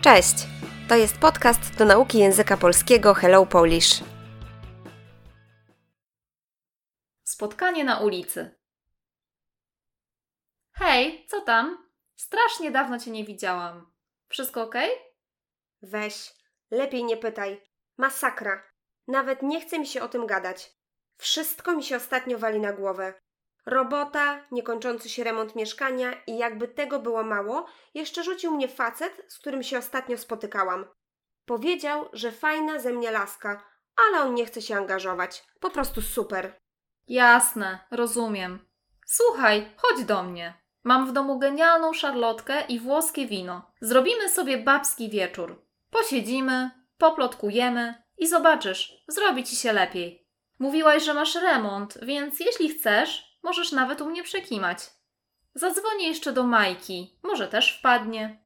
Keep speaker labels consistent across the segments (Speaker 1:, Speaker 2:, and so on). Speaker 1: Cześć! To jest podcast do nauki języka polskiego Hello Polish.
Speaker 2: Spotkanie na ulicy. Hej, co tam? Strasznie dawno cię nie widziałam. Wszystko ok?
Speaker 1: Weź, lepiej nie pytaj. Masakra. Nawet nie chce mi się o tym gadać. Wszystko mi się ostatnio wali na głowę. Robota, niekończący się remont mieszkania i jakby tego było mało, jeszcze rzucił mnie facet, z którym się ostatnio spotykałam. Powiedział, że fajna ze mnie laska, ale on nie chce się angażować. Po prostu super.
Speaker 2: Jasne, rozumiem. Słuchaj, chodź do mnie. Mam w domu genialną szarlotkę i włoskie wino. Zrobimy sobie babski wieczór. Posiedzimy, poplotkujemy i zobaczysz, zrobi ci się lepiej. Mówiłaś, że masz remont, więc jeśli chcesz, możesz nawet u mnie przekimać. Zadzwonię jeszcze do Majki, może też wpadnie.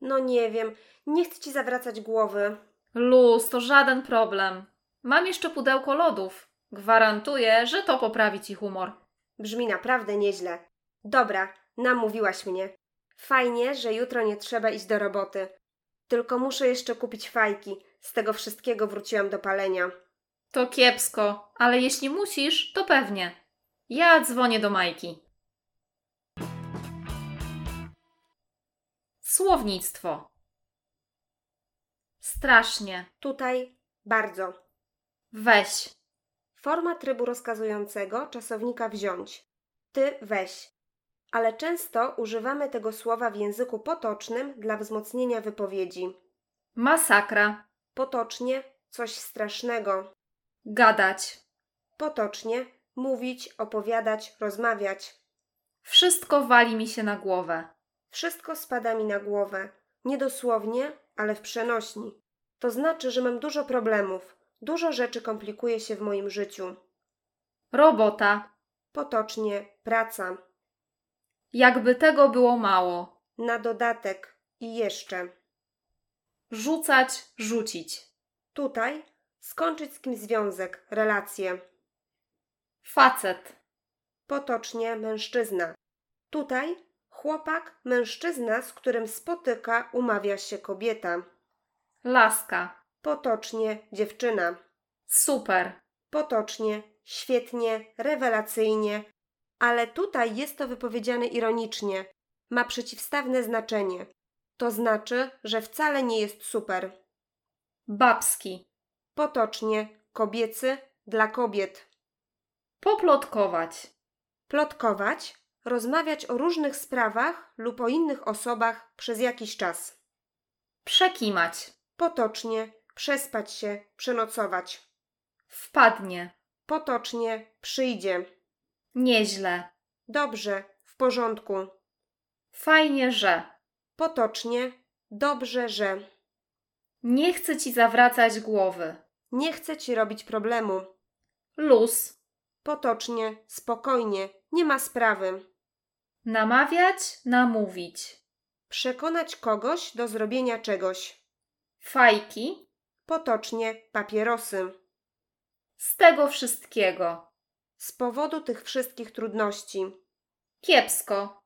Speaker 1: No nie wiem, nie chcę ci zawracać głowy.
Speaker 2: Luz, to żaden problem. Mam jeszcze pudełko lodów. Gwarantuję, że to poprawi ci humor.
Speaker 1: Brzmi naprawdę nieźle. Dobra, namówiłaś mnie. Fajnie, że jutro nie trzeba iść do roboty. Tylko muszę jeszcze kupić fajki. Z tego wszystkiego wróciłam do palenia.
Speaker 2: To kiepsko, ale jeśli musisz, to pewnie. Ja dzwonię do Majki. Słownictwo. Strasznie.
Speaker 1: Tutaj bardzo.
Speaker 2: Weź.
Speaker 1: Forma trybu rozkazującego czasownika wziąć. Ty weź. Ale często używamy tego słowa w języku potocznym dla wzmocnienia wypowiedzi.
Speaker 2: Masakra.
Speaker 1: Potocznie coś strasznego.
Speaker 2: Gadać.
Speaker 1: Potocznie mówić, opowiadać, rozmawiać.
Speaker 2: Wszystko wali mi się na głowę.
Speaker 1: Wszystko spada mi na głowę. Nie dosłownie, ale w przenośni. To znaczy, że mam dużo problemów. Dużo rzeczy komplikuje się w moim życiu.
Speaker 2: Robota.
Speaker 1: Potocznie praca.
Speaker 2: Jakby tego było mało.
Speaker 1: Na dodatek i jeszcze.
Speaker 2: Rzucać, rzucić.
Speaker 1: Tutaj skończyć z kimś związek, relacje.
Speaker 2: Facet.
Speaker 1: Potocznie mężczyzna. Tutaj chłopak, mężczyzna, z którym spotyka, umawia się kobieta.
Speaker 2: Laska.
Speaker 1: Potocznie dziewczyna.
Speaker 2: Super.
Speaker 1: Potocznie, świetnie, rewelacyjnie, ale tutaj jest to wypowiedziane ironicznie. Ma przeciwstawne znaczenie. To znaczy, że wcale nie jest super.
Speaker 2: Babski.
Speaker 1: Potocznie, kobiecy, dla kobiet.
Speaker 2: Poplotkować.
Speaker 1: Plotkować, rozmawiać o różnych sprawach lub o innych osobach przez jakiś czas.
Speaker 2: Przekimać.
Speaker 1: Potocznie, przespać się, przenocować.
Speaker 2: Wpadnie.
Speaker 1: Potocznie, przyjdzie.
Speaker 2: Nieźle.
Speaker 1: Dobrze, w porządku.
Speaker 2: Fajnie, że.
Speaker 1: Potocznie, dobrze, że.
Speaker 2: Nie chcę ci zawracać głowy.
Speaker 1: Nie chcę ci robić problemu.
Speaker 2: Luz.
Speaker 1: Potocznie, spokojnie, nie ma sprawy.
Speaker 2: Namawiać, namówić.
Speaker 1: Przekonać kogoś do zrobienia czegoś.
Speaker 2: Fajki.
Speaker 1: Potocznie, papierosy.
Speaker 2: Z tego wszystkiego.
Speaker 1: Z powodu tych wszystkich trudności.
Speaker 2: Kiepsko.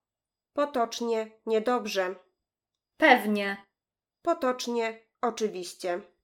Speaker 1: Potocznie, niedobrze.
Speaker 2: Pewnie.
Speaker 1: Potocznie, oczywiście.